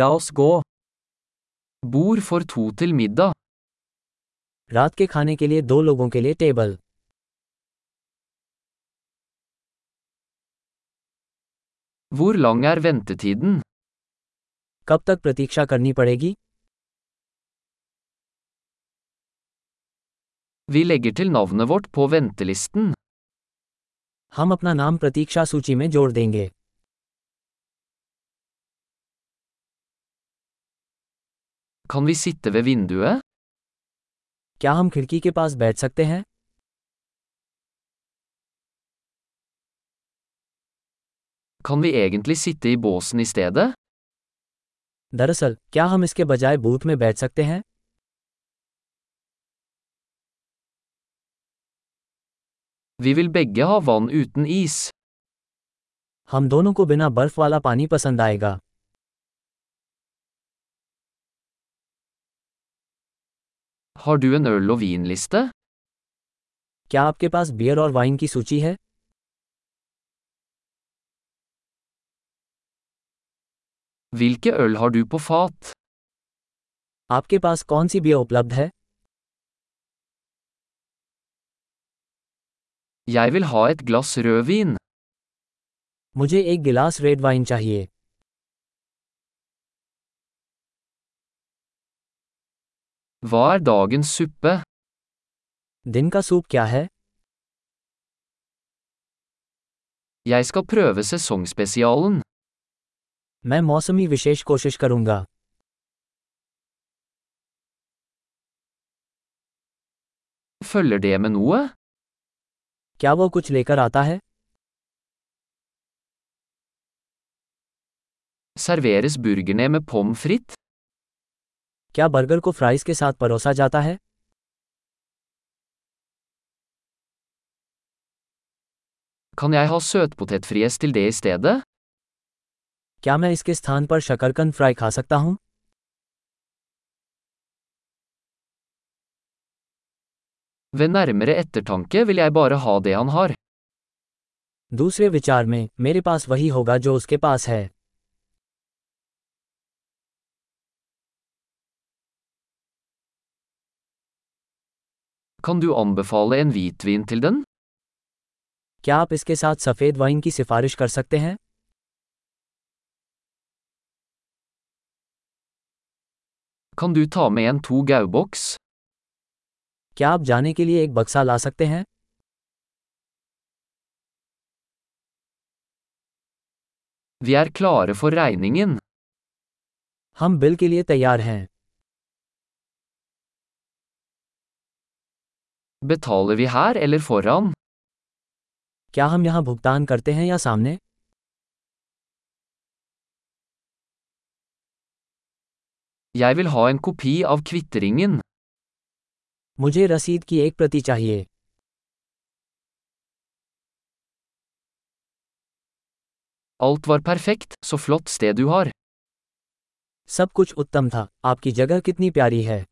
La oss gå. Bord for to til middag. रात के खाने के लिए दो लोगों के लिए table Hvor lang er ventetiden? कब तक प्रतीक्षा करनी पड़ेगी Vi legger til navnet vårt på ventelisten. हम अपना नाम प्रतीक्षा सूची में जोड़ देंगे Kan vi sitte ved vinduet? क्या हम खिड़की के पास बैठ सकते हैं Kan vi egentlig sitte i båsen i stedet? दरअसल क्या हम इसके बजाय बूथ में बैठ सकते हैं Vi vil begge ha vann uten is. हम दोनों को बिना बर्फ वाला पानी पसंद आएगा Har du en øl- og vinliste? क्या आपके पास बियर और वाइन की सूची है Hvilke øl har du på fat? आपके पास कौन सी बियर उपलब्ध है Jeg vil ha et glass rødvin. मुझे एक गिलास रेड वाइन चाहिए Hva er dagens suppe? दिन का सूप क्या है Jeg skal prøve sesongspesialen. मैं मौसमी विशेष कोशिश करूंगा Følger det med noe? क्या वो कुछ लेकर आता है Serveres burgerne med pommes frites? क्या बर्गर को फ्राइज के साथ परोसा जाता है Kan jeg ha søtpotetfries til det i stedet? क्या मैं इसके स्थान पर शकरकंद फ्राई खा सकता हूँ Ved nærmere ettertanke vil jeg bare ha det han har. दूसरे विचार में मेरे पास वही होगा जो उसके पास है Kan du anbefale en hvitvin til den? क्या आप इसके साथ सफ़ेद वाइन की सिफारिश कर सकते हैं Kan du ta med en to gauboks? क्या आप जाने के लिए एक बक्सा ला सकते हैं Vi er klare for regningen. हम बिल के लिए तैयार हैं Betaler vi her eller foran? क्या हम यहाँ भुगतान करते हैं या सामने Jeg vil ha en kopi av kvitteringen. मुझे रसीद की एक प्रति चाहिए Alt var perfekt, så flott sted du har. सब कुछ उत्तम था आपकी जगह कितनी प्यारी है